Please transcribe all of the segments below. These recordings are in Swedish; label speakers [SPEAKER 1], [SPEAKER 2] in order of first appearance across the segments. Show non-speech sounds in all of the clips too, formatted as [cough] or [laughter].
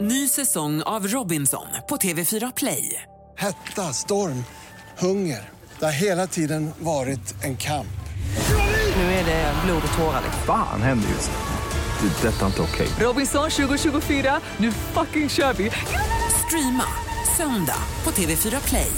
[SPEAKER 1] Ny säsong av Robinson på TV4 Play.
[SPEAKER 2] Hetta, storm, hunger. Det har hela tiden varit en kamp.
[SPEAKER 1] Nu är det blod och tårar. liksom.
[SPEAKER 3] Fan händer just nu. Det. är Detta är inte okej.
[SPEAKER 1] Robinson 2024, nu fucking kör vi! Streama söndag på TV4 Play.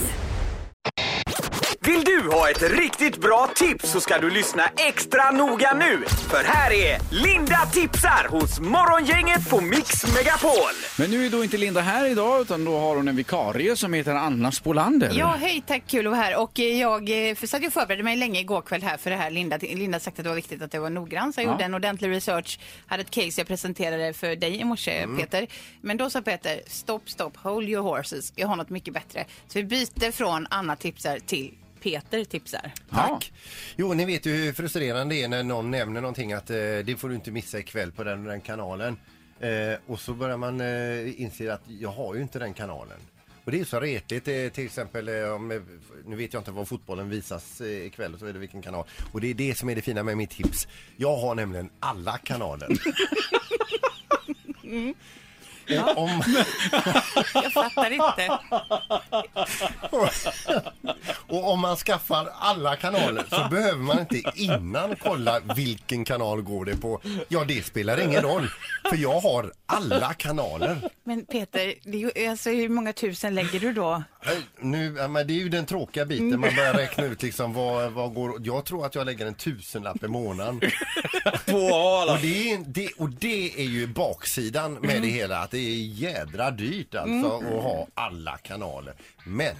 [SPEAKER 4] Vill du ha ett riktigt bra tips så ska du lyssna extra noga nu. För här är Linda tipsar hos Morgongänget på Mix Megapol.
[SPEAKER 5] Men nu är då inte Linda här idag utan då har hon en vikarie som heter Anna Spolander.
[SPEAKER 6] Ja, hej, tack, kul att vara här. Och eh, jag eh, för satt ju och förberedde mig länge igår kväll här för det här. Linda, Linda sagt att det var viktigt att jag var noggrann, så jag
[SPEAKER 5] Ja.
[SPEAKER 6] gjorde en ordentlig research. Hade ett case jag presenterade för dig i morse,
[SPEAKER 5] Mm.
[SPEAKER 6] Peter. Men då sa Peter, stopp, stopp, hold your horses. Jag har något mycket bättre. Så vi byter från Anna tipsar till Peter tipsar.
[SPEAKER 5] Tack.
[SPEAKER 7] Jo, ni vet ju hur frustrerande det är när någon nämner någonting att eh, det får du inte missa ikväll på den och den kanalen. Eh, och så börjar man eh, inse att jag har ju inte den kanalen. Och det är ju så retligt eh, till exempel eh, om, eh, nu vet jag inte var fotbollen visas eh, ikväll och så vidare vilken kanal. Och det är det som är det fina med mitt tips. Jag har nämligen alla kanaler. Eh, Om,
[SPEAKER 6] Jag fattar inte.
[SPEAKER 7] och om man skaffar alla kanaler så behöver man inte innan kolla vilken kanal går det på. Ja, det spelar ingen roll, för jag har alla kanaler.
[SPEAKER 6] Men Peter, det är ju, alltså, hur många tusen lägger du då?
[SPEAKER 7] Eh, Nu, ja, men det är ju den tråkiga biten, man börjar räkna ut liksom vad, vad går... Jag tror att jag lägger en tusenlapp i månaden. Och det, är, det, och det är ju baksidan med det hela, att det är jädra dyrt alltså att ha alla kanaler. Men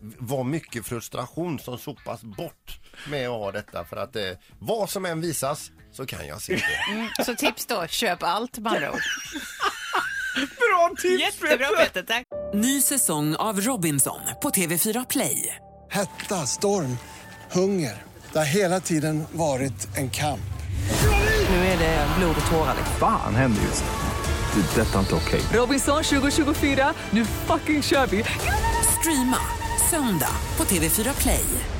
[SPEAKER 7] vad mycket frustration som sopas bort med att ha detta för att eh, vad som än visas så kan jag se det.
[SPEAKER 6] Mm, så tips då, köp allt med andra ord.
[SPEAKER 5] Bra [laughs] tips!
[SPEAKER 6] Jättebra Peter, tack.
[SPEAKER 1] Ny säsong av Robinson på TV4 Play.
[SPEAKER 2] Hetta, storm, hunger. Det har hela tiden varit en kamp.
[SPEAKER 1] liksom.
[SPEAKER 3] Fan händer just nu. Det. är Detta är inte okej.
[SPEAKER 1] Robinson 2024, nu fucking kör vi! Streama söndag på TV4 Play.